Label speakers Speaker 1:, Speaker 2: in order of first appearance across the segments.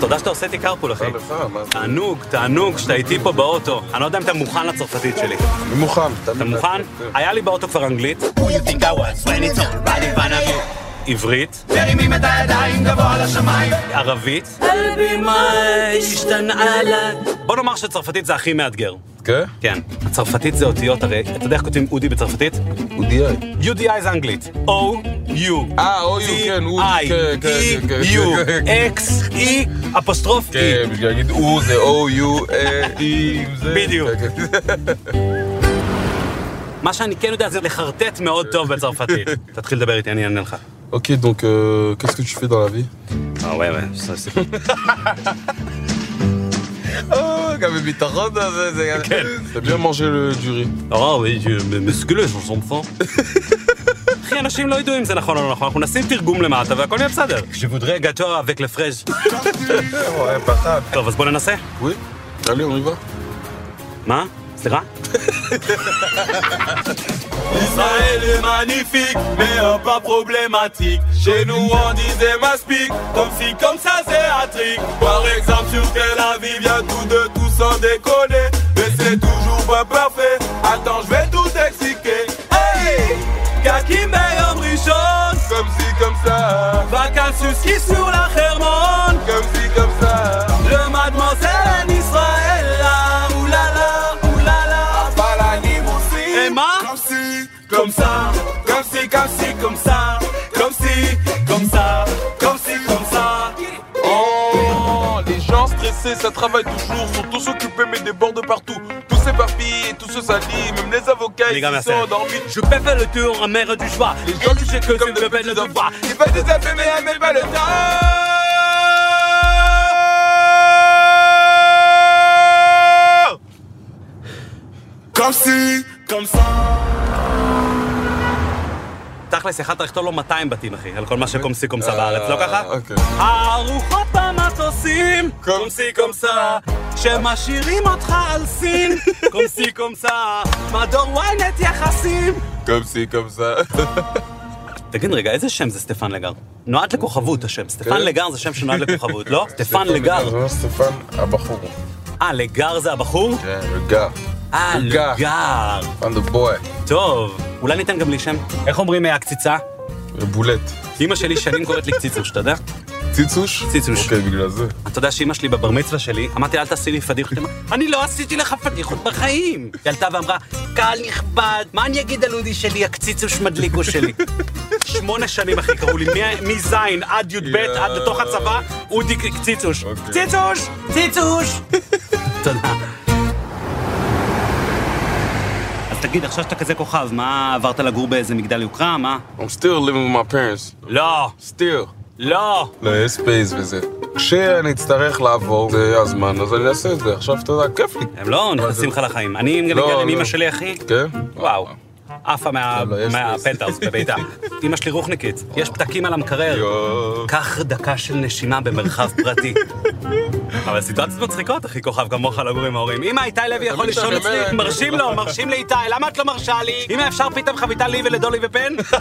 Speaker 1: תודה שאתה עושה את עיקר פול, אחי.
Speaker 2: לך, מה זה?
Speaker 1: תענוג, תענוג שאתה איתי פה באוטו. אני לא יודע אם אתה מוכן לצרפתית שלי.
Speaker 2: אני מוכן.
Speaker 1: אתה מוכן?
Speaker 2: כן,
Speaker 1: היה לי באוטו כבר אנגלית. עברית,
Speaker 3: מרימים את הידיים גבוה לשמיים
Speaker 1: ערבית. בוא נאמר שצרפתית זה הכי מאתגר.
Speaker 2: כן?
Speaker 1: כן. הצרפתית זה אותיות, הרי אתה יודע איך כותבים אודי בצרפתית?
Speaker 2: אודי.
Speaker 1: UDI זה אנגלית. O-U.
Speaker 2: אה, אוי, כן, אוד, כן, כן, כן,
Speaker 1: E U,
Speaker 2: כן, כן.
Speaker 1: X, E, אפוסטרוף E.
Speaker 2: כן, בשביל להגיד או זה או, יו, אה, אי, זה...
Speaker 1: בדיוק.
Speaker 2: כן, כן.
Speaker 1: מה שאני כן יודע זה לחרטט מאוד טוב בצרפתית. תתחיל לדבר איתי, אני אענה לך.
Speaker 2: Ok, donc euh, qu'est-ce que tu fais dans la vie
Speaker 1: אה, וואי, וואי, זה סיפור.
Speaker 2: Oh, quand même, il t'en rentre dans ça, c'est...
Speaker 1: Quel-
Speaker 2: T'as bien mangé le, du riz.
Speaker 1: אה, וואי, מסקולוס, הוא סומפו. אחי, אנשים לא ידעו אם זה נכון או לא נכון, אנחנו נשים תרגום למטה והכל יהיה בסדר. כשבודרי גאטו אבק לפרז'.
Speaker 2: Ouais, patate.
Speaker 1: טוב, אז בוא ננסה.
Speaker 2: Oui Allez, on y va.
Speaker 1: מה? סליחה?
Speaker 4: Israël est magnifique, mais un pas problématique. Chez nous, on disait m'aspic, comme si, comme ça, c'est atrique. Par exemple, sur Tel Aviv, vient tout de tout sans déconner. Mais c'est toujours pas parfait. Attends, je vais tout expliquer. Hey! Kaki meilleur brichon,
Speaker 2: Comme si, comme ça.
Speaker 4: vacances qui sur la Hermon.
Speaker 2: Comme si, comme ça.
Speaker 4: Le mademoiselle en Israël, là, oulala, oulala.
Speaker 2: Balani, mon
Speaker 1: אה, מה?
Speaker 4: Comme si, comme ça, comme si, comme si, comme ça, comme si, comme ça, comme si, comme ça.
Speaker 2: Oh, les gens stressés, ça travaille toujours, sont tous occupés, mais des bords de partout. Tous s'éparpillent, tous se salient, même les avocats,
Speaker 1: Les
Speaker 2: ils
Speaker 1: gars,
Speaker 2: se
Speaker 1: merci.
Speaker 2: sont endormis.
Speaker 1: Je préfère le tour en mer du choix.
Speaker 2: Les gens qui
Speaker 1: que tu
Speaker 2: comme
Speaker 1: me
Speaker 2: de
Speaker 1: belles
Speaker 2: petits
Speaker 1: de
Speaker 2: enfants.
Speaker 1: bras.
Speaker 2: Ils veulent des affaires, mais ils n'aiment pas le temps.
Speaker 4: Comme si, comme ça.
Speaker 1: תכלס, יכלת לכתוב לו 200 בתים, אחי, על כל מה שקומסי קומסה בארץ, לא ככה?
Speaker 2: אוקיי.
Speaker 1: הארוחות במטוסים, אה. קומסי קומסה, שמשאירים אותך על סין, קומסי קומסה, מדור ynet יחסים.
Speaker 2: Comme si, comme ça.
Speaker 1: תגיד רגע, איזה שם זה סטפן לגר? נועד לכוכבות השם. סטפן לגר זה שם שנועד לכוכבות, לא? כן. סטפן לגר.
Speaker 2: סטפן הבחור.
Speaker 1: אה, לגר זה הבחור?
Speaker 2: כן, לגר.
Speaker 1: אה,
Speaker 2: לגר.
Speaker 1: לגר.
Speaker 2: סטפן דה בוי.
Speaker 1: טוב, אולי ניתן גם לי שם? איך אומרים אה, הקציצה?
Speaker 2: בולט.
Speaker 1: אמא שלי שנים קוראת לי קציצוש, אתה יודע?
Speaker 2: ציצוש?
Speaker 1: ציצוש.
Speaker 2: אוקיי, בגלל זה.
Speaker 1: אתה יודע שאימא שלי בבר מצווה שלי, אמרתי לה, אל תעשי לי פדיחות. היא אמרה, אני לא עשיתי לך פדיחות בחיים. היא עלתה ואמרה, קהל נכבד, מה אני אגיד על אודי שלי, הקציצוש מדליקו שלי. שמונה שנים, אחי, קראו לי, מ- מזין עד י"ב, עד לתוך הצבא, אודי קציצוש.
Speaker 2: אוקיי.
Speaker 1: קציצוש! קציצוש! תודה. אז תגיד, עכשיו שאתה כזה כוכב, מה, עברת לגור באיזה מגדל יוקרה, מה?
Speaker 2: I'm still living with my parents.
Speaker 1: לא,
Speaker 2: still.
Speaker 1: לא.
Speaker 2: לא, יש ספייס וזה. כשאני אצטרך לעבור, זה יהיה הזמן, אז אני אעשה את זה. עכשיו, אתה יודע, כיף לי.
Speaker 1: הם לא נכנסים לך לחיים. אני גם
Speaker 2: לא,
Speaker 1: מגיע עם
Speaker 2: לא.
Speaker 1: אמא שלי, אחי.
Speaker 2: כן?
Speaker 1: וואו. עפה מה-
Speaker 2: לא, יש לי-
Speaker 1: מהפנטהאוס בביתה. אמא שלי רוחניקית, יש פתקים על המקרר.
Speaker 2: יואו.
Speaker 1: קח דקה של נשימה במרחב פרטי. אבל סיטואציות מצחיקות, אחי כוכב כמוך לגור עם ההורים. אמא, איתי לוי יכול
Speaker 2: תמיד
Speaker 1: לישון
Speaker 2: שאני אומר
Speaker 1: אצלי,
Speaker 2: להם.
Speaker 1: מרשים לו, מרשים לאיתי, למה את לא מרשה לי? אמא, אפשר פתאום חביתה לי ולדולי ופן?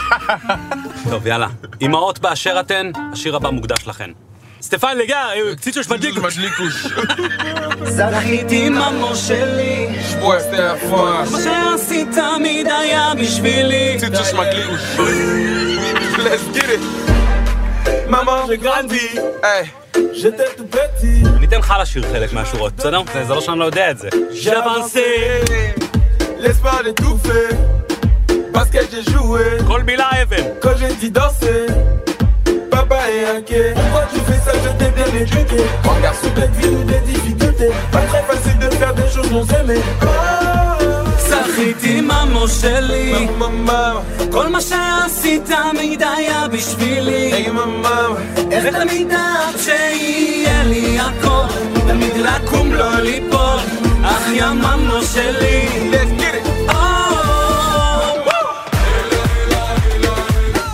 Speaker 1: טוב, יאללה. אמהות באשר אתן, השיר הבא מוקדש לכן. סטפן אה, לגר, קציצוש מדליקו.
Speaker 2: מדליקוש.
Speaker 1: זכיתי ממו שלי,
Speaker 2: שבוע שתי הפרעה.
Speaker 1: מה שעשית תמיד היה בשבילי.
Speaker 2: ציצוש מדליקוש. Let's get it.
Speaker 4: Maman, j'ai grandi,
Speaker 2: היי.
Speaker 4: j'étais tout petit.
Speaker 1: ניתן לך לשיר חלק מהשורות, בסדר? זה זה לא שאני לא יודע את זה. ז'אבנסי,
Speaker 4: L'espoir d'étouffer, parce que j'ai joué.
Speaker 1: כל מילה אבן.
Speaker 4: Quand j'ai dit danser, papa est inquiet. Pourquoi tu fais ça, je t'ai bien éduqué. Mon garçon, t'as vie ou des difficultés. Pas très facile de faire des choses non aimées. Oh,
Speaker 1: זכיתי ממו שלי,
Speaker 4: maman,
Speaker 1: כל מה שעשית תמיד היה בשבילי.
Speaker 4: hey maman,
Speaker 1: איך תמיד דעת שיהיה לי הכל, תמיד לקום לא ליפול, אך יא ממו שלי. Oh!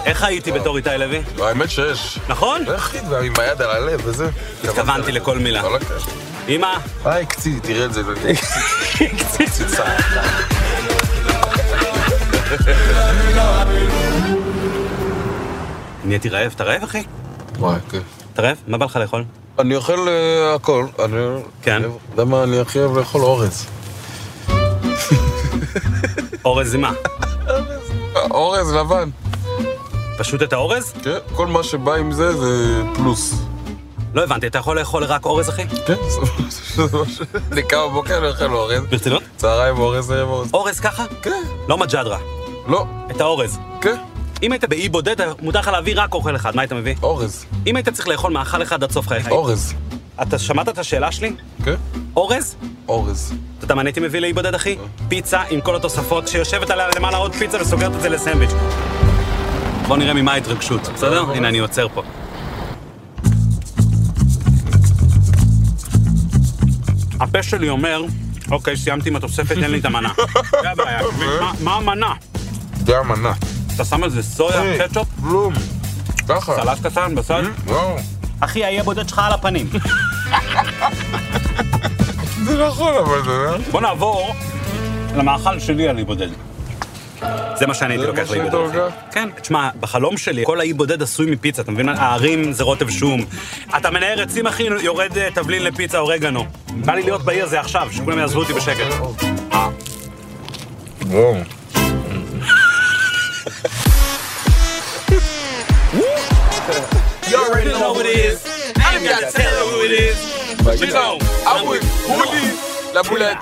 Speaker 1: איך הייתי בתור איתי לוי?
Speaker 2: לא, האמת שיש.
Speaker 1: נכון?
Speaker 2: זה הכי דבר, עם היד על הלב וזה.
Speaker 1: התכוונתי לכל מילה.
Speaker 2: לא לקחת.
Speaker 1: אמא,
Speaker 2: היי, קצי, אה, תראה את זה. לא
Speaker 1: קציצה. נהייתי רעב. אתה רעב, אחי?
Speaker 2: וואי, כן.
Speaker 1: אתה רעב? מה בא לך לאכול?
Speaker 2: אני אוכל אה, הכל. אני...
Speaker 1: כן.
Speaker 2: אני יודע מה, אני הכי אוהב לאכול אורז.
Speaker 1: אורז זה מה?
Speaker 2: אה, אורז לבן.
Speaker 1: פשוט את האורז?
Speaker 2: כן, כל מה שבא עם זה זה פלוס.
Speaker 1: לא הבנתי, אתה יכול לאכול רק אורז, אחי?
Speaker 2: כן, זה מה ש... אני קם בבוקר, אני אוכל אורז.
Speaker 1: ברצינות?
Speaker 2: צהריים אורז, ערב אורז.
Speaker 1: אורז ככה?
Speaker 2: כן,
Speaker 1: לא מג'דרה,
Speaker 2: לא,
Speaker 1: את האורז.
Speaker 2: כן,
Speaker 1: אם היית באי בודד, מותר לך להביא רק אוכל אחד, מה היית מביא?
Speaker 2: אורז.
Speaker 1: אם היית צריך לאכול מאכל אחד עד סוף חייך,
Speaker 2: אורז.
Speaker 1: אתה שמעת את השאלה שלי?
Speaker 2: כן,
Speaker 1: אורז?
Speaker 2: אורז.
Speaker 1: אתה יודע מה אני הייתי מביא לאי בודד, אחי? פיצה עם כל התוספות, שיושבת עליה למעלה עוד פיצה וסוגרת את זה לסנדוויץ'. בוא נראה ממה ההתרגשות, בסדר? הנה, אני עוצר פה. הפה שלי אומר, אוקיי, סיימתי עם התוספת, תן לי את המנה. זה הבעיה, מה- מה המנה?
Speaker 2: זה המנה.
Speaker 1: אתה שם על זה סויה, קטשופ,
Speaker 2: בלום. ככה.
Speaker 1: סלט קטן, בשר?
Speaker 2: וואו.
Speaker 1: Mm-hmm. אחי, האי הבודד שלך על הפנים.
Speaker 2: זה נכון, אבל זה...
Speaker 1: בוא נעבור למאכל שלי על אי בודד. זה מה שאני הייתי
Speaker 2: זה מה
Speaker 1: לוקח לאי
Speaker 2: שהיית
Speaker 1: בודד.
Speaker 2: לוקח?
Speaker 1: כן. תשמע, בחלום שלי, כל האי בודד עשוי מפיצה, אתה מבין? הערים זה רוטב שום. אתה מנער עצים, אחי, יורד אה, תבלין לפיצה אורגנו. בא לי להיות בעיר זה עכשיו, שכולם יעזבו אותי בשקט.
Speaker 2: וואו.
Speaker 4: You already know what it is. I ain't gotta tell you who it is.
Speaker 2: תראו, אבוי, הולי, לבולט.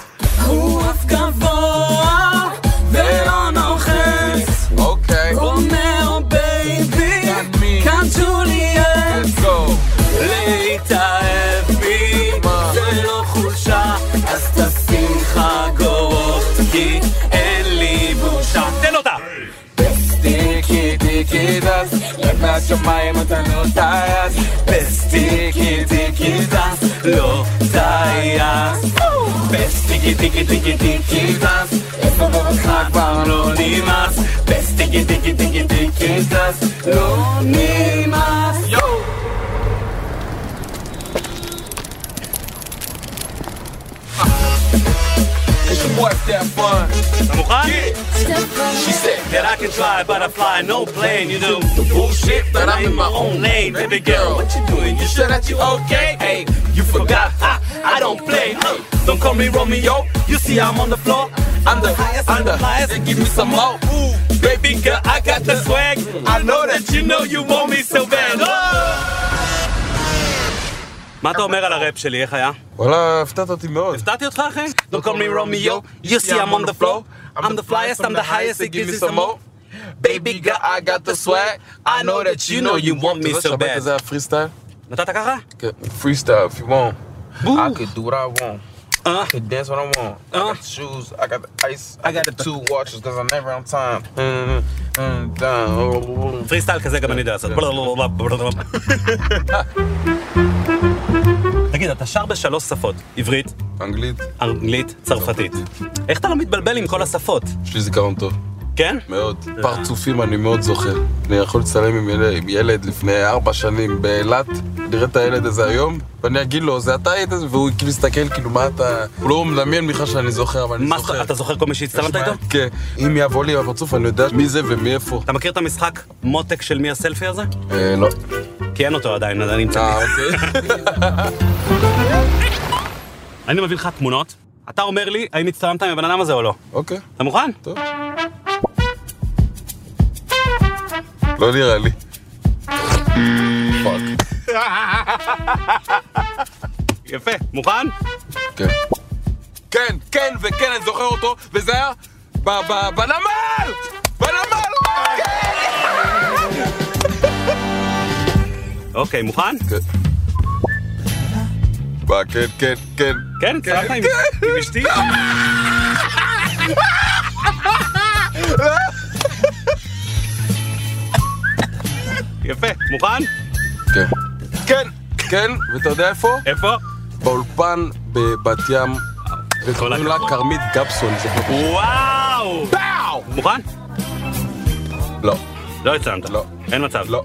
Speaker 5: רוח גבוה ולא נוחץ
Speaker 2: אוקיי,
Speaker 5: רומאו בייבי
Speaker 2: Got me.
Speaker 5: כאן ג'וליאט
Speaker 2: let's go.
Speaker 5: להתאהב בי
Speaker 2: מה?
Speaker 5: זה לא חולשה אז תשים חגורות כי אין לי בושה
Speaker 1: תן אותה!
Speaker 5: בסטיקי טיקי דס רק מהשמיים אתה לא טייס בסטיקי טיקי דס לא טייס בסטיקי טיקי טיקי טיקי דס לסובב אותך כבר לא נמאס בסטיקי טיקי טיקי טיקי דס לא נמאס
Speaker 4: It's your boy Steph Fun.
Speaker 1: אתה מוכן?
Speaker 4: She said
Speaker 1: That I can fly, but I fly no plane, you do.
Speaker 4: bullshit, but I'm in my own lane. Baby girl, what you doing? You sure that you okay? Hey, you forgot, I, I don't play. Hey, don't call me Romeo. You see I'm on the floor. I'm the highest, I'm the highest. And give me some more. Ooh, baby girl, I got the swag. I know that you know you want me so bad. Oh!
Speaker 1: מה אתה אומר על הראפ שלי, איך היה?
Speaker 2: וואלה, הפתעת אותי מאוד.
Speaker 1: הפתעתי אותך, אחי? Don't call me Romeo, you see I'm on the floor. I'm the flyest, I'm the highest, it gives me some more.
Speaker 2: Baby girl, I got the swag. I know that you know you want me so bad. זה היה פרי סטייל?
Speaker 1: נתת ככה?
Speaker 2: כן, פרי סטייל, if you want. I could do what I want.
Speaker 1: אה?
Speaker 2: I could dance what I want. I
Speaker 1: Uh.
Speaker 2: got the shoes, I got the ice, I got the two watches, cause I'm never on time. Mm-hmm. Mm,
Speaker 1: Mm-hmm.
Speaker 2: mm, down.
Speaker 1: פרי סטייל כזה גם אני יודע לעשות. כן. תגיד, אתה שר בשלוש שפות, עברית,
Speaker 2: אנגלית,
Speaker 1: אנגלית, צרפתית. איך אתה לא מתבלבל עם כל השפות?
Speaker 2: יש לי זיכרון טוב,
Speaker 1: כן?
Speaker 2: מאוד. פרצופים אני מאוד זוכר. אני יכול לצלם עם ילד- עם ילד לפני ארבע שנים באילת, נראה את הילד הזה היום, ואני אגיד לו, זה אתה היית, והוא כאילו מסתכל, כאילו, מה אתה... הוא לא מדמיין בכלל שאני זוכר, אבל אני
Speaker 1: מה, זאת-
Speaker 2: זוכר.
Speaker 1: אתה זוכר כל מי שהצטלמת איתו?
Speaker 2: כן. אם יבוא לי הפרצוף, אני יודע מי זה ומאיפה.
Speaker 1: אתה מכיר את המשחק מותק של מי הסלפי הזה?
Speaker 2: אה, לא.
Speaker 1: כי אין אותו עדיין, אז אני אמצא.
Speaker 2: אה, אוקיי.
Speaker 1: אני מביא לך תמונות, אתה אומר לי האם הצטלמת עם הבן אדם הזה או לא.
Speaker 2: אוקיי.
Speaker 1: אתה מוכן?
Speaker 2: טוב. לא נראה לי. פאק.
Speaker 1: יפה. מוכן?
Speaker 2: כן. כן, כן וכן, אני זוכר אותו, וזה היה ב- ב- בנמל! בנמל!
Speaker 1: אוקיי, מוכן?
Speaker 2: כן. מה, כן, כן, כן.
Speaker 1: כן, הצטלמת עם עם אשתי? יפה. מוכן?
Speaker 2: כן. כן, כן, ואתה יודע איפה?
Speaker 1: איפה?
Speaker 2: באולפן בבת ים, וקוראים לה
Speaker 1: הכבוד.
Speaker 2: כרמית גפסון, זה לא-
Speaker 1: וואו!
Speaker 2: פאו!
Speaker 1: מוכן?
Speaker 2: לא,
Speaker 1: לא הצטלמת.
Speaker 2: לא.
Speaker 1: אין מצב.
Speaker 2: לא.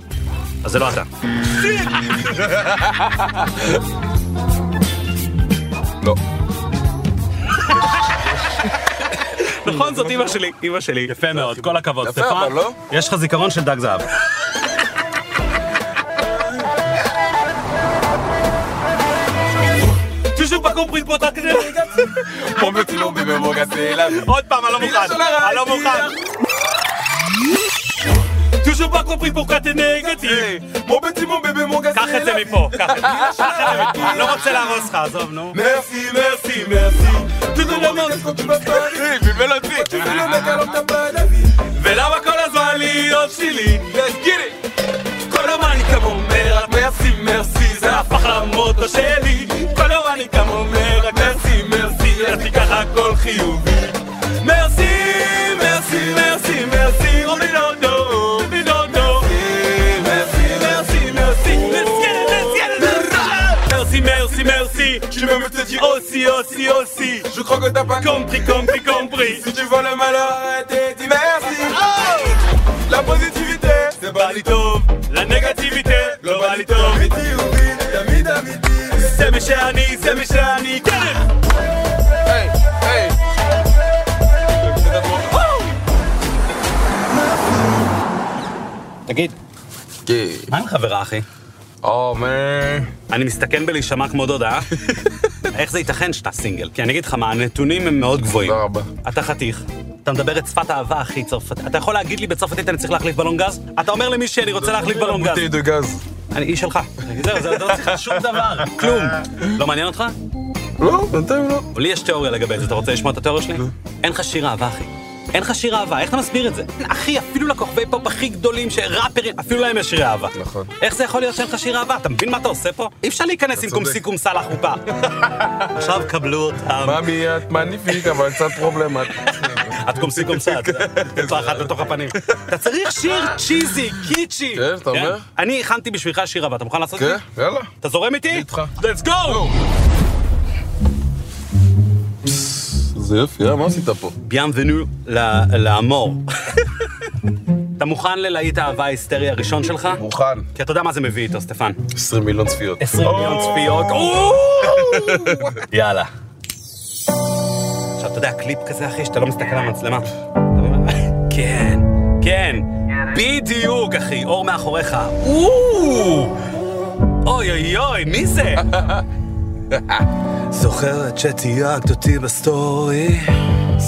Speaker 1: אז זה לא אתה.
Speaker 2: לא.
Speaker 1: נכון, זאת אימא שלי. אימא שלי. יפה מאוד, כל הכבוד.
Speaker 2: יפה, אבל
Speaker 1: סטפן,
Speaker 2: לא?
Speaker 1: יש לך זיכרון של דג זהב.
Speaker 4: pas compris le potentiel.
Speaker 5: Mon petit loup, bébé, mon gars, c'est la vie.
Speaker 4: עוד פעם, אני לא מוכן.
Speaker 5: של הרעי,
Speaker 4: אני לא מוכן. Toujours pas compris pourquoi t'es
Speaker 1: אה,
Speaker 2: אה,
Speaker 4: négatif.
Speaker 5: Mon petit, mon bébé, mon gars,
Speaker 4: קח
Speaker 5: c'est
Speaker 4: את זה
Speaker 5: la vie.
Speaker 4: מפה, קח את זה. קח את זה מפה. אני לא רוצה להרוס לך, עזוב, נו.
Speaker 5: Merci, merci, merci. Tu te demandes qu'est-ce que tu vas faire. Tu fais le mec alors que t'as pas d'avis.
Speaker 4: ולמה כל הזמן להיות שלי? Let's get it! כל יום אני גם אומר רק מרסי מרסי זה הפך למוטו שלי כל יום אני גם אומר רק מרסי מרסי אז תיקח הכל חיובי מרסי מרסי מרסי מרסי
Speaker 5: Oh,
Speaker 4: אומי לא נו אומי לא נו מרסי מרסי מרסי Let's get it, let's get it, let's get it. מרסי מרסי מרסי
Speaker 5: Tu veux me te dire, oh,
Speaker 4: אוסי אוסי אוסי
Speaker 5: je crois que t'as pas compris.
Speaker 4: קומפרי קומפרי קומפרי
Speaker 5: Si tu vois le malheur arrêter, dis merci. La positivité, c'est
Speaker 4: בא
Speaker 5: pas
Speaker 4: לי טוב לנגטיביטה לא בא לי טוב
Speaker 5: Midi ou vide, d'amis d'amitié.
Speaker 4: זה מי שאני, זה מי שאני, כן!
Speaker 2: היי, היי.
Speaker 1: תגיד,
Speaker 2: כן.
Speaker 1: מה עם חברה, אחי?
Speaker 2: או, מן.
Speaker 1: אני מסתכן בלהישמע כמו דודה, אה? איך זה ייתכן שאתה סינגל? כי אני אגיד לך מה, הנתונים הם מאוד גבוהים.
Speaker 2: תודה רבה.
Speaker 1: אתה חתיך. אתה מדבר את שפת האהבה, אחי, צרפתית. אתה יכול להגיד לי בצרפתית אני צריך להחליף בלון גז? אתה אומר למישהי, אני רוצה להחליף בלון גז.
Speaker 2: בוטי דה גז.
Speaker 1: אני איש שלך. זהו, זה לא צריך לך שום דבר, כלום. לא מעניין אותך?
Speaker 2: לא, בינתיים לא.
Speaker 1: לי יש תיאוריה לגבי זה, אתה רוצה לשמוע את התיאוריה שלי? אין לך שיר אהבה, אחי. אין לך שיר אהבה, איך אתה מסביר את זה? אחי, אפילו לכוכבי פופ הכי גדולים, שראפרים, אפילו להם יש שיר אהבה.
Speaker 2: נכון.
Speaker 1: איך זה יכול להיות שאין לך שיר אהבה? אתה מבין מה אתה עושה פה? אי אפשר להיכנס עם
Speaker 2: צודק.
Speaker 1: קומסי קומסה לחופה. עכשיו קבלו אותם.
Speaker 2: מאמי, את מניפיק, אבל קצת פרובלמטית.
Speaker 1: את קומסי קומסה, את קומסה אחת לתוך הפנים. אתה צריך שיר צ'יזי, קיצ'י.
Speaker 2: כן, אתה אומר?
Speaker 1: אני הכנתי בשבילך שיר אהבה, אתה מוכן לעשות את
Speaker 2: כן,
Speaker 1: זה?
Speaker 2: יאללה.
Speaker 1: אתה זורם איתי?
Speaker 2: איתך.
Speaker 1: Let's go!
Speaker 2: זה יופי, אה? מה עשית פה?
Speaker 1: ביאמבנו ל- לאמור. אתה מוכן ללהיט האהבה ההיסטרי הראשון שלך?
Speaker 2: מוכן.
Speaker 1: כי אתה יודע מה זה מביא איתו, סטפן.
Speaker 2: 20 מיליון צפיות.
Speaker 1: 20 מיליון צפיות. או! יאללה. עכשיו, אתה יודע, קליפ כזה, אחי, שאתה לא מסתכל על המצלמה. אתה מבין? כן, כן, בדיוק, אחי, אור מאחוריך. או! אוי אוי אוי, מי זה? זוכרת שתייגת אותי בסטורי?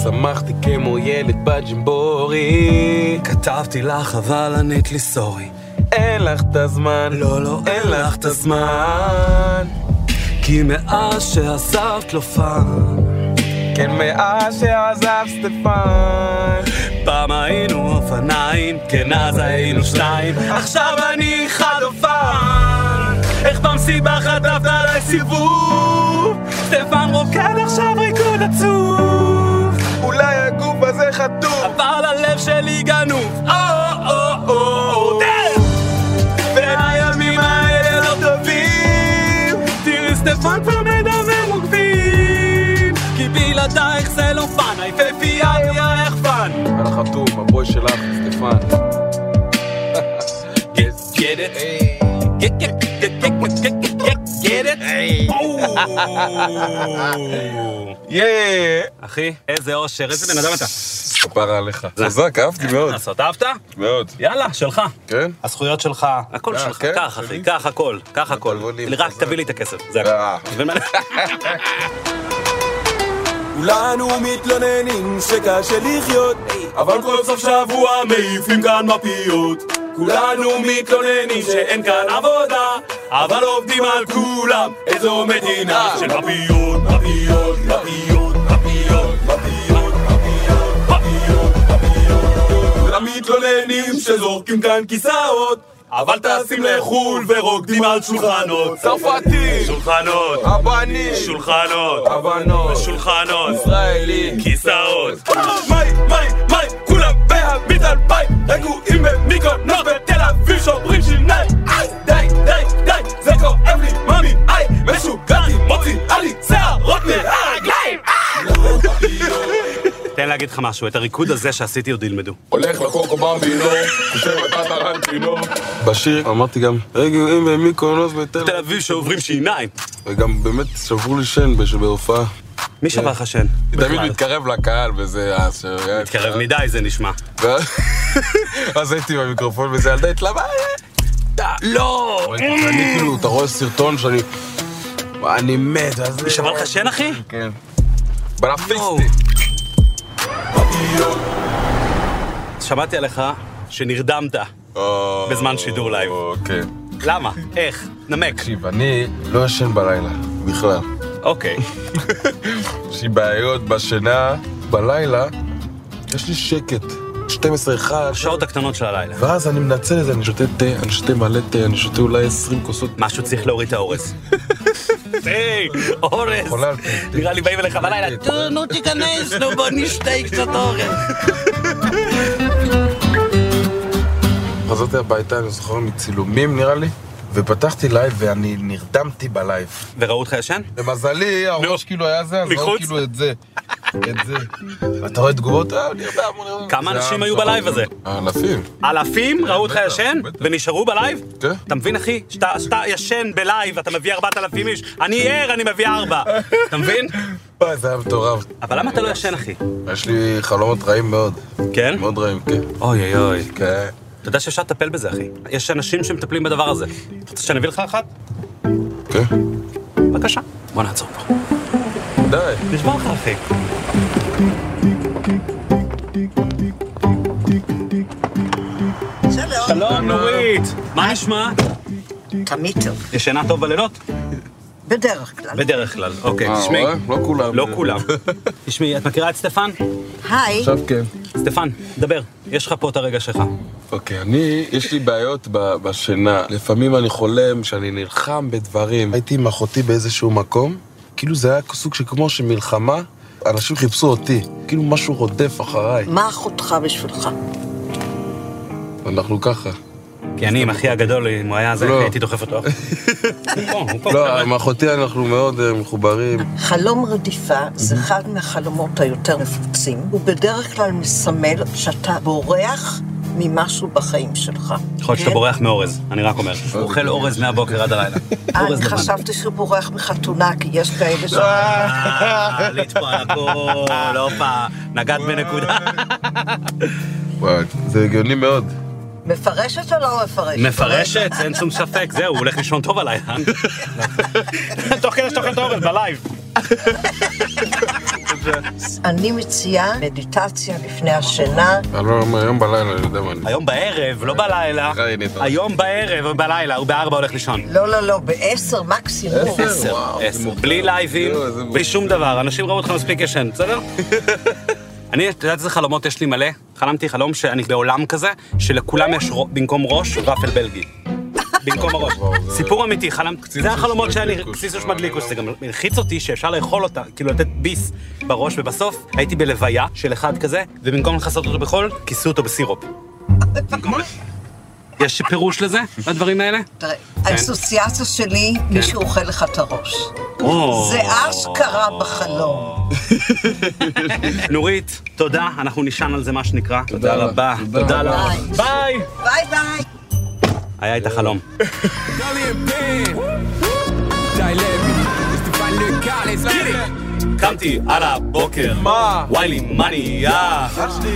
Speaker 2: שמחתי כמו ילד בג'מבורי.
Speaker 1: כתבתי לך, אבל ענית לי סורי.
Speaker 2: אין לך את הזמן.
Speaker 1: לא, לא, אין לך את
Speaker 2: הזמן.
Speaker 1: כי מאז שעזבת לא פעם,
Speaker 2: כן, מאז שעזב סטפן.
Speaker 1: פעם היינו אופניים, כן אז היינו שניים, עכשיו אני חלופן. איך במסיבה חטפת עליי סיבוב? סטפן רוקד עכשיו ריקוד עצוב,
Speaker 2: אולי הגוף הזה חטוף.
Speaker 1: אבל הלב שלי גנוב. או או או או דן! והימים האלה לא טובים, תראי סטפן כבר מדמם מוקבים, כי בלעדייך זה לא פאן, היפהפייה היא היחפן.
Speaker 2: על החתום, הבוי שלך, סטפן.
Speaker 1: Get, get it. Get, get, get, get, get, get, get, get, get it. Oh.
Speaker 2: יאה!
Speaker 1: אחי, איזה אושר, איזה בן אדם אתה.
Speaker 2: כפרה עליך. כן. חזק, אהבתי מאוד.
Speaker 1: לעשות, אהבת?
Speaker 2: מאוד.
Speaker 1: יאללה, שלך.
Speaker 2: כן?
Speaker 1: הזכויות שלך, הכל
Speaker 2: אה,
Speaker 1: שלך,
Speaker 2: כן,
Speaker 1: קח
Speaker 2: שלי?
Speaker 1: אחי, קח הכל, קח הכל.
Speaker 2: תבוא לי,
Speaker 1: רק
Speaker 2: חזק.
Speaker 1: תביא לי את הכסף, זה
Speaker 2: אה.
Speaker 1: הכל. אתה מבין מה אני-
Speaker 5: כולנו מתלוננים שקשה לחיות,
Speaker 4: אבל כל סוף שבוע מעיפים כאן מפיות כולנו מתלוננים שאין כאן עבודה אבל עובדים על כולם איזו מדינה של מפיות, מפיות, מפיות, מפיות, מפיות, מפיות, מפיות, מפיות כולם מתלוננים שזורקים כאן כיסאות אבל טסים לחו"ל ורוקדים על שולחנות
Speaker 2: צרפתי!
Speaker 4: שולחנות,
Speaker 2: הבני!
Speaker 4: שולחנות,
Speaker 2: הבנות!
Speaker 4: שולחנות
Speaker 2: ישראלי!
Speaker 4: כיסאות. מיי, מיי, מיי, כולם בהביט על ביי, רגועים במיקרונוס בתל אביב שוברים שיניים. איי, די, די, די, זה כואב לי, מאמי, איי, משוגעתי, מוציאה לי שערות מהרגליים.
Speaker 1: תן להגיד לך משהו, את הריקוד הזה שעשיתי עוד ילמדו.
Speaker 5: הולך לקוקו במבינו, חושב אתה טרנטינו.
Speaker 2: בשיר אמרתי גם, רגעים ומיקרונוס בתל
Speaker 1: תל אביב שעוברים שיניים.
Speaker 2: וגם באמת שברו לי שן בש- בהופעה.
Speaker 1: מי שבר לך שן?
Speaker 2: אני תמיד מתקרב לקהל וזה... אה, ש-
Speaker 1: מתקרב מדי זה נשמע.
Speaker 2: ואז- אז הייתי במיקרופון וזה ילדה אה, התלבט.
Speaker 1: לא!
Speaker 2: אני כאילו, אתה רואה סרטון שאני... אני מת, אז... זה-
Speaker 1: נשבר לך לא. שן, אחי?
Speaker 2: כן. בלפיסטי.
Speaker 1: יואו. שמעתי עליך שנרדמת
Speaker 2: אה,
Speaker 1: בזמן שידור לייב.
Speaker 2: אוקיי.
Speaker 1: למה? איך? נמק.
Speaker 2: תקשיב, אני לא ישן בלילה, בכלל.
Speaker 1: אוקיי.
Speaker 2: יש לי בעיות בשינה, בלילה יש לי שקט. 12-1,
Speaker 1: השעות הקטנות של הלילה.
Speaker 2: ואז אני מנצל את זה, אני שותה תה, אני שותה מלא תה, אני שותה אולי 20 כוסות.
Speaker 1: משהו צריך להוריד את האורז. היי, אורז.
Speaker 2: חולה על פי.
Speaker 1: נראה לי באים אליך בלילה, "טו, נו תיכנס, נו בוא נשתה קצת אורז.
Speaker 2: חזרתי הביתה, אני זוכר מצילומים נראה לי, ופתחתי לייב ואני נרדמתי בלייב.
Speaker 1: וראו אותך ישן?
Speaker 2: למזלי, הראש כאילו היה זה, אז ראו
Speaker 1: לא. מחוץ?
Speaker 2: כאילו את זה. את זה. אתה רואה תגובות, אה, הוא נרדם, הוא נרדם.
Speaker 1: כמה
Speaker 2: זה
Speaker 1: אנשים
Speaker 2: היה
Speaker 1: היו
Speaker 2: מטורף.
Speaker 1: בלייב הזה?
Speaker 2: אלפים.
Speaker 1: אלפים ראו אותך
Speaker 2: בטח,
Speaker 1: ישן
Speaker 2: בטח.
Speaker 1: ונשארו בלייב?
Speaker 2: כן.
Speaker 1: אתה מבין, אחי? שאתה- שאתה ישן בלייב, אתה מביא 4,000 איש. אני ער, אני מביא 4. אתה מבין?
Speaker 2: וואי, זה היה מטורף.
Speaker 1: אבל למה אתה לא ישן, אחי?
Speaker 2: יש לי חלומות רעים מאוד.
Speaker 1: כן?
Speaker 2: מאוד רעים, כן.
Speaker 1: אוי אוי אוי.
Speaker 2: כן.
Speaker 1: אתה יודע שאפשר לטפל בזה, אחי. יש אנשים שמטפלים בדבר הזה. אתה רוצה שאני אביא לך אחת?
Speaker 2: כן.
Speaker 1: בבקשה. בוא נעצור פה.
Speaker 2: די.
Speaker 1: נשמע לך, אחי. שלום, נורית. מה נשמע?
Speaker 6: תמיד טוב,
Speaker 1: ישנה טוב בלילות?
Speaker 6: בדרך כלל.
Speaker 1: בדרך כלל. אוקיי,
Speaker 2: אה,
Speaker 1: תשמעי.
Speaker 2: רואה? לא כולם.
Speaker 1: לא כולם. תשמעי, את מכירה את סטפן?
Speaker 6: היי,
Speaker 2: עכשיו כן.
Speaker 1: סטפן, דבר. יש לך פה את הרגע שלך.
Speaker 2: אוקיי, אני, יש לי בעיות ב- בשינה. לפעמים אני חולם שאני נלחם בדברים. הייתי עם אחותי באיזשהו מקום, כאילו זה היה סוג שכמו שמלחמה, אנשים חיפשו אותי. כאילו משהו רודף אחריי.
Speaker 6: מה אחותך בשבילך?
Speaker 2: אנחנו ככה.
Speaker 1: כי אני עם אחי הגדול, אם הוא היה זה,
Speaker 2: לא.
Speaker 1: הייתי דוחף אותו. הוא פה, הוא פה.
Speaker 2: לא, עם אחותי אנחנו מאוד אה, מחוברים.
Speaker 6: חלום רדיפה זה אחד מהחלומות היותר נפוצים. הוא בדרך כלל מסמל שאתה בורח ממשהו בחיים שלך.
Speaker 1: יכול להיות שאתה
Speaker 6: כן?
Speaker 1: בורח מאורז, אני רק אומר. הוא אוכל אורז מהבוקר עד הלילה. אורז
Speaker 6: אני
Speaker 1: לבן.
Speaker 6: חשבתי שהוא בורח מחתונה, כי יש כאלה ש...
Speaker 1: אה, עלית פה על הכל, הופה, נגעת בנקודה.
Speaker 2: וואי, זה הגיוני מאוד.
Speaker 6: מפרשת או לא מפרשת?
Speaker 1: מפרשת, אין שום ספק, זהו, הוא הולך לישון טוב הלילה. תוך כדי שאתה אוכל את האורז, בלייב.
Speaker 6: אני מציעה מדיטציה לפני השינה.
Speaker 2: אני לא אומר, היום בלילה, אני יודע מה אני...
Speaker 1: היום בערב, לא בלילה.
Speaker 2: סליחה, הנה, אתה-
Speaker 1: היום בערב ובלילה, הוא בארבע הולך לישון.
Speaker 6: לא, לא, לא, בעשר מקסימום.
Speaker 2: עשר?
Speaker 1: עשר,
Speaker 2: וואו, זה
Speaker 1: עשר.
Speaker 2: מוקדם.
Speaker 1: בלי לייבים,
Speaker 2: לא, זה מוקדם.
Speaker 1: בלי שום דבר. אנשים ראו אותך מספיק ישן, בסדר? אני, את יודעת איזה חלומות יש לי מלא? חלמתי חלום שאני בעולם כזה, שלכולם יש רו- במקום ראש ופל בלגי. במקום הראש. סיפור אמיתי, חלמת, זה החלומות שאני,
Speaker 2: שמדליקוס.
Speaker 1: קציצוש
Speaker 2: לא,
Speaker 1: מדליקוס,
Speaker 2: אני
Speaker 1: זה גם מלחיץ אותי שאפשר לאכול אותה, כאילו לתת ביס בראש, ובסוף הייתי בלוויה של אחד כזה, ובמקום לכסות אותו בחול, כיסו אותו בסירופ. במקום- יש פירוש לזה, לדברים האלה?
Speaker 6: תראה,
Speaker 1: כן.
Speaker 6: האסוציאציה שלי, מישהו אוכל לך את הראש.
Speaker 1: או.
Speaker 6: זה אשכרה בחלום.
Speaker 1: נורית, תודה, אנחנו נשען על זה מה שנקרא. תודה
Speaker 2: לך.
Speaker 1: רבה.
Speaker 2: תודה
Speaker 1: תודה לך.
Speaker 6: לך.
Speaker 1: ביי!
Speaker 6: ביי ביי.
Speaker 1: היה איתך חלום. קמתי על הבוקר,
Speaker 4: מה?
Speaker 1: וואי לי מניה,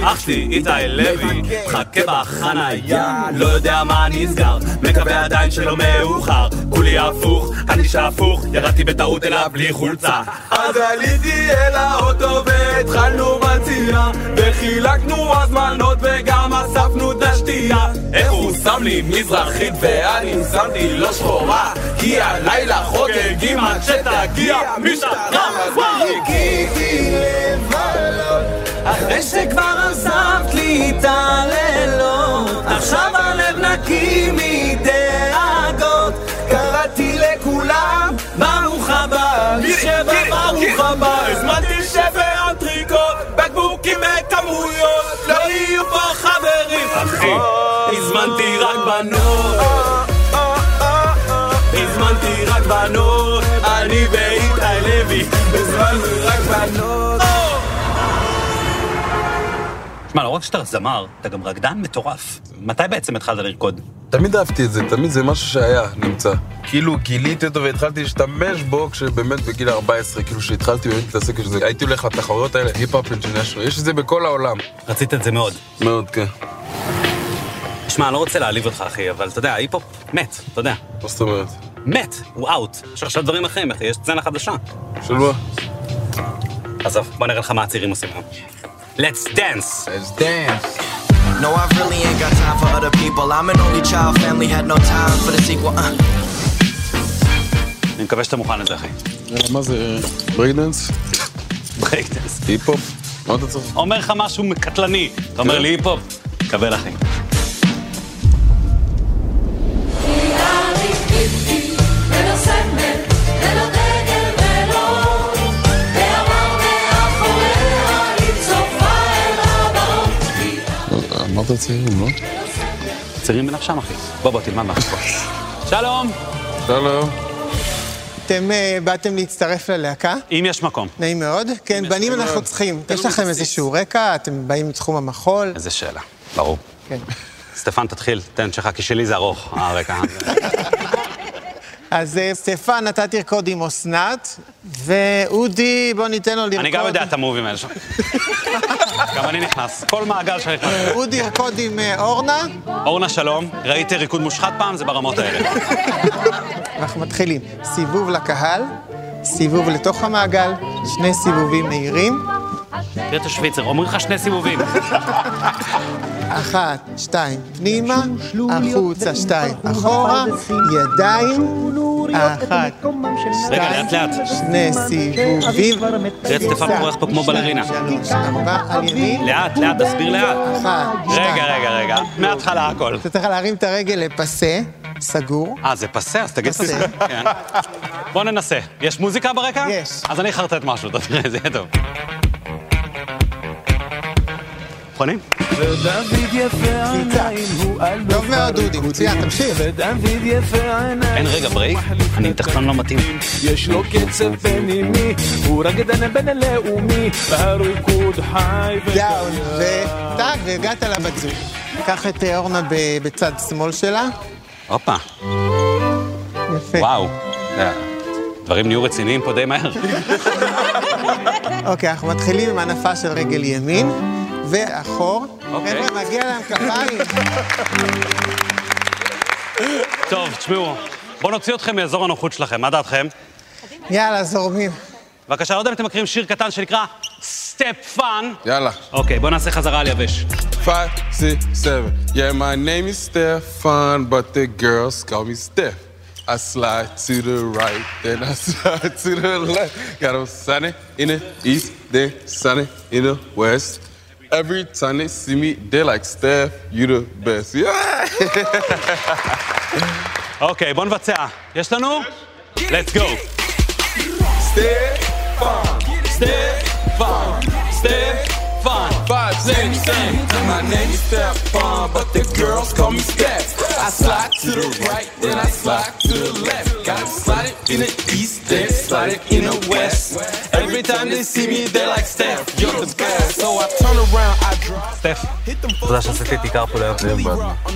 Speaker 1: אח שלי איתי לוי, חכה בחניה, לא יודע מה נסגר, מקווה עדיין שלא מאוחר, כולי הפוך, אני שהפוך, ירדתי בטעות אליו בלי חולצה.
Speaker 4: אז עליתי אל האוטו והתחלנו מציאה וחילקנו הזמנות וגם אספנו את השתייה איך הוא שם לי מזרחית ואני שמתי לא שחורה כי הלילה חוגגים עד שתגיע משטרה אז חיכיתי לבלות אחרי שכבר עזבת לי את הלילות עכשיו הלב נקי מדאגות קראתי לכולם ברוך הבא מי שבא ברוך הבא הזמנתי שבר אנטריקוט בקבוקים וכמויות לא יהיו פה חברים אחי הזמנתי רק בנות הזמנתי רק בנות אני ואיתי לוי הזמנו רק בנות
Speaker 1: שמע, לא רק שאתה זמר, אתה גם רקדן מטורף. מתי בעצם התחלת לרקוד?
Speaker 2: תמיד אהבתי את זה, תמיד זה משהו שהיה, נמצא. כאילו גיליתי אותו והתחלתי להשתמש בו כשבאמת בגיל 14, כאילו שהתחלתי באמת להתעסק עם זה. הייתי הולך לתחרויות האלה, היפ-אפ אינטרנשיונל, יש את זה בכל העולם.
Speaker 1: רצית את זה מאוד.
Speaker 2: מאוד, כן.
Speaker 1: יש תשמע, לא רוצה להעליב אותך, אחי, אבל אתה יודע, ההיפ-הופ מת, אתה יודע.
Speaker 2: מה זאת אומרת?
Speaker 1: מת, הוא אאוט. יש עכשיו דברים אחרים, אחי, יש סצנה חדשה.
Speaker 2: של מה?
Speaker 1: עזוב, בוא נראה לך מה הצעירים עושים היום. Let's dance!
Speaker 2: אז דאנס.
Speaker 7: No, I really ain't got time for other people. I'm an only child, family had no time for the sequel. Uh.
Speaker 1: אני מקווה שאתה מוכן לזה, אחי.
Speaker 2: מה זה? ברייקדאנס?
Speaker 1: ברייק דאנס.
Speaker 2: היפ-הופ? מה אתה צריך?
Speaker 1: אומר לך משהו קטלני, אתה אומר לי היפ-הופ, קבל, אחי.
Speaker 2: אמרת צעירים, לא?
Speaker 1: צעירים בנפשם, אחי. בוא, בוא, תלמד משהו. שלום!
Speaker 2: שלום.
Speaker 8: אתם אה, באתם להצטרף ללהקה?
Speaker 1: אם יש מקום.
Speaker 8: נעים מאוד. כן, בנים
Speaker 2: נעים
Speaker 8: אנחנו
Speaker 2: מאוד.
Speaker 8: צריכים.
Speaker 2: תן
Speaker 1: כאילו
Speaker 8: יש
Speaker 2: לנו
Speaker 8: לכם
Speaker 2: בסיס.
Speaker 8: איזשהו רקע, אתם באים מתחום המחול.
Speaker 1: איזה שאלה. ברור.
Speaker 8: כן.
Speaker 1: סטפן, תתחיל, תן שלך, כי שלי זה ארוך, אה, הרקע.
Speaker 8: אז אה, סטפן, אתה תרקוד עם אסנת, ואודי, בוא ניתן לו לרקוד.
Speaker 1: אני גם יודע את המובים האלה שם. גם אני נכנס. כל מעגל שאני נכנס.
Speaker 8: אודי ירקוד עם אה, אורנה,
Speaker 1: אורנה, שלום. ראית ריקוד מושחת פעם? זה ברמות האלה.
Speaker 8: אנחנו מתחילים. סיבוב לקהל, סיבוב לתוך המעגל, שני סיבובים מהירים.
Speaker 1: תראה את השוויצר, אומרים לך שני סיבובים.
Speaker 8: אחת, שתיים, פנימה, החוצה, שתיים, אחורה, ידיים, אחת,
Speaker 1: רגע,
Speaker 8: שתיים,
Speaker 1: לאט לאט.
Speaker 8: שני סיבובים.
Speaker 1: תראה את סטפן פורח פה כמו בלרינה.
Speaker 8: שלוש, ארבע, על ימין,
Speaker 1: לאט, לאט, תסביר לאט.
Speaker 8: אחת,
Speaker 1: רגע,
Speaker 8: שתיים.
Speaker 1: רגע, רגע. מההתחלה הכל.
Speaker 8: אתה צריך להרים את הרגל לפסה, סגור.
Speaker 1: אה, זה פסה, אז תגיד את
Speaker 8: פסה.
Speaker 1: זה. כן. בוא ננסה. יש מוזיקה ברקע?
Speaker 8: יש.
Speaker 1: אז אני אחרטט משהו, אתה תראה, זה יהיה טוב. מוכנים?
Speaker 8: טוב מאוד, אודי, מצוין, תמשיך.
Speaker 1: אין רגע ברייק? אני עם תחתון לא מתאים.
Speaker 5: יש לו קצב בנימי, הוא רקדן בינלאומי, והריקוד חי ו...
Speaker 8: דאון, וטאק, והגעת לבת זוג. קח את אה, אורנה ב- בצד שמאל שלה.
Speaker 1: הופה,
Speaker 8: יפה.
Speaker 1: וואו. זה- דברים נהיו רציניים פה די מהר.
Speaker 8: אוקיי, אנחנו מתחילים עם הנפה של רגל ימין, ואחור.
Speaker 1: אוקיי.
Speaker 8: חבר'ה, מגיע להם כפיים.
Speaker 1: טוב, תשמעו, בואו נוציא אתכם מאזור הנוחות שלכם, מה דעתכם?
Speaker 8: יאללה, זורמים.
Speaker 1: בבקשה, לא יודע אם אתם מכירים שיר קטן שנקרא סטפ פאן.
Speaker 8: לא.
Speaker 2: יאללה.
Speaker 1: אוקיי, בואו נעשה חזרה על יבש.
Speaker 2: Five, six, seven. Yeah, my name is Stefan, but the girls call me Steph. I slide to the right, then I slide to the left. Got 'em sunny in the east, then sunny in the west. Every time they see me, they like Steph, you the best. Yeah!
Speaker 1: אוקיי, בואו נבצע. יש לנו? Let's go.
Speaker 2: Steph,
Speaker 5: Stefan, Stefan,
Speaker 2: five,
Speaker 5: same,
Speaker 2: six,
Speaker 5: same. My name is Stefan, but the girls call me Steph. I slide to the right, then I slide to the left. Got slide it in the east, then slide it in the west. Every time they see me, they like Steph, you're the best. So I turn around, I drop.
Speaker 1: סטף, תודה שעשיתי את עיקר פה להיום.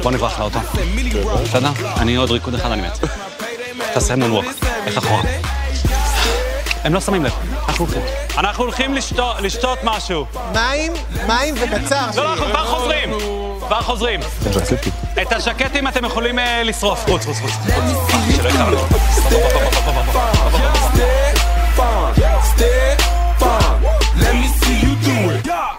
Speaker 1: בוא נברח לאוטו. בסדר? אני עוד ריקוד אחד, אני מת. תעשה מונווק. לך אחורה. הם לא שמים לב, אנחנו הולכים. אנחנו הולכים לשתות- לשתות משהו.
Speaker 8: מים, מים וקצר.
Speaker 1: לא, לא, אנחנו כבר חוזרים. כבר חוזרים. את הז'קטים אתם יכולים אה, לשרוף. חוץ, חוץ, חוץ. חוץ. שלא יקרה לנו. בוא, בוא, בוא, בוא, בוא, בוא, בוא.
Speaker 5: Stefan, Stefan, let me see you do it.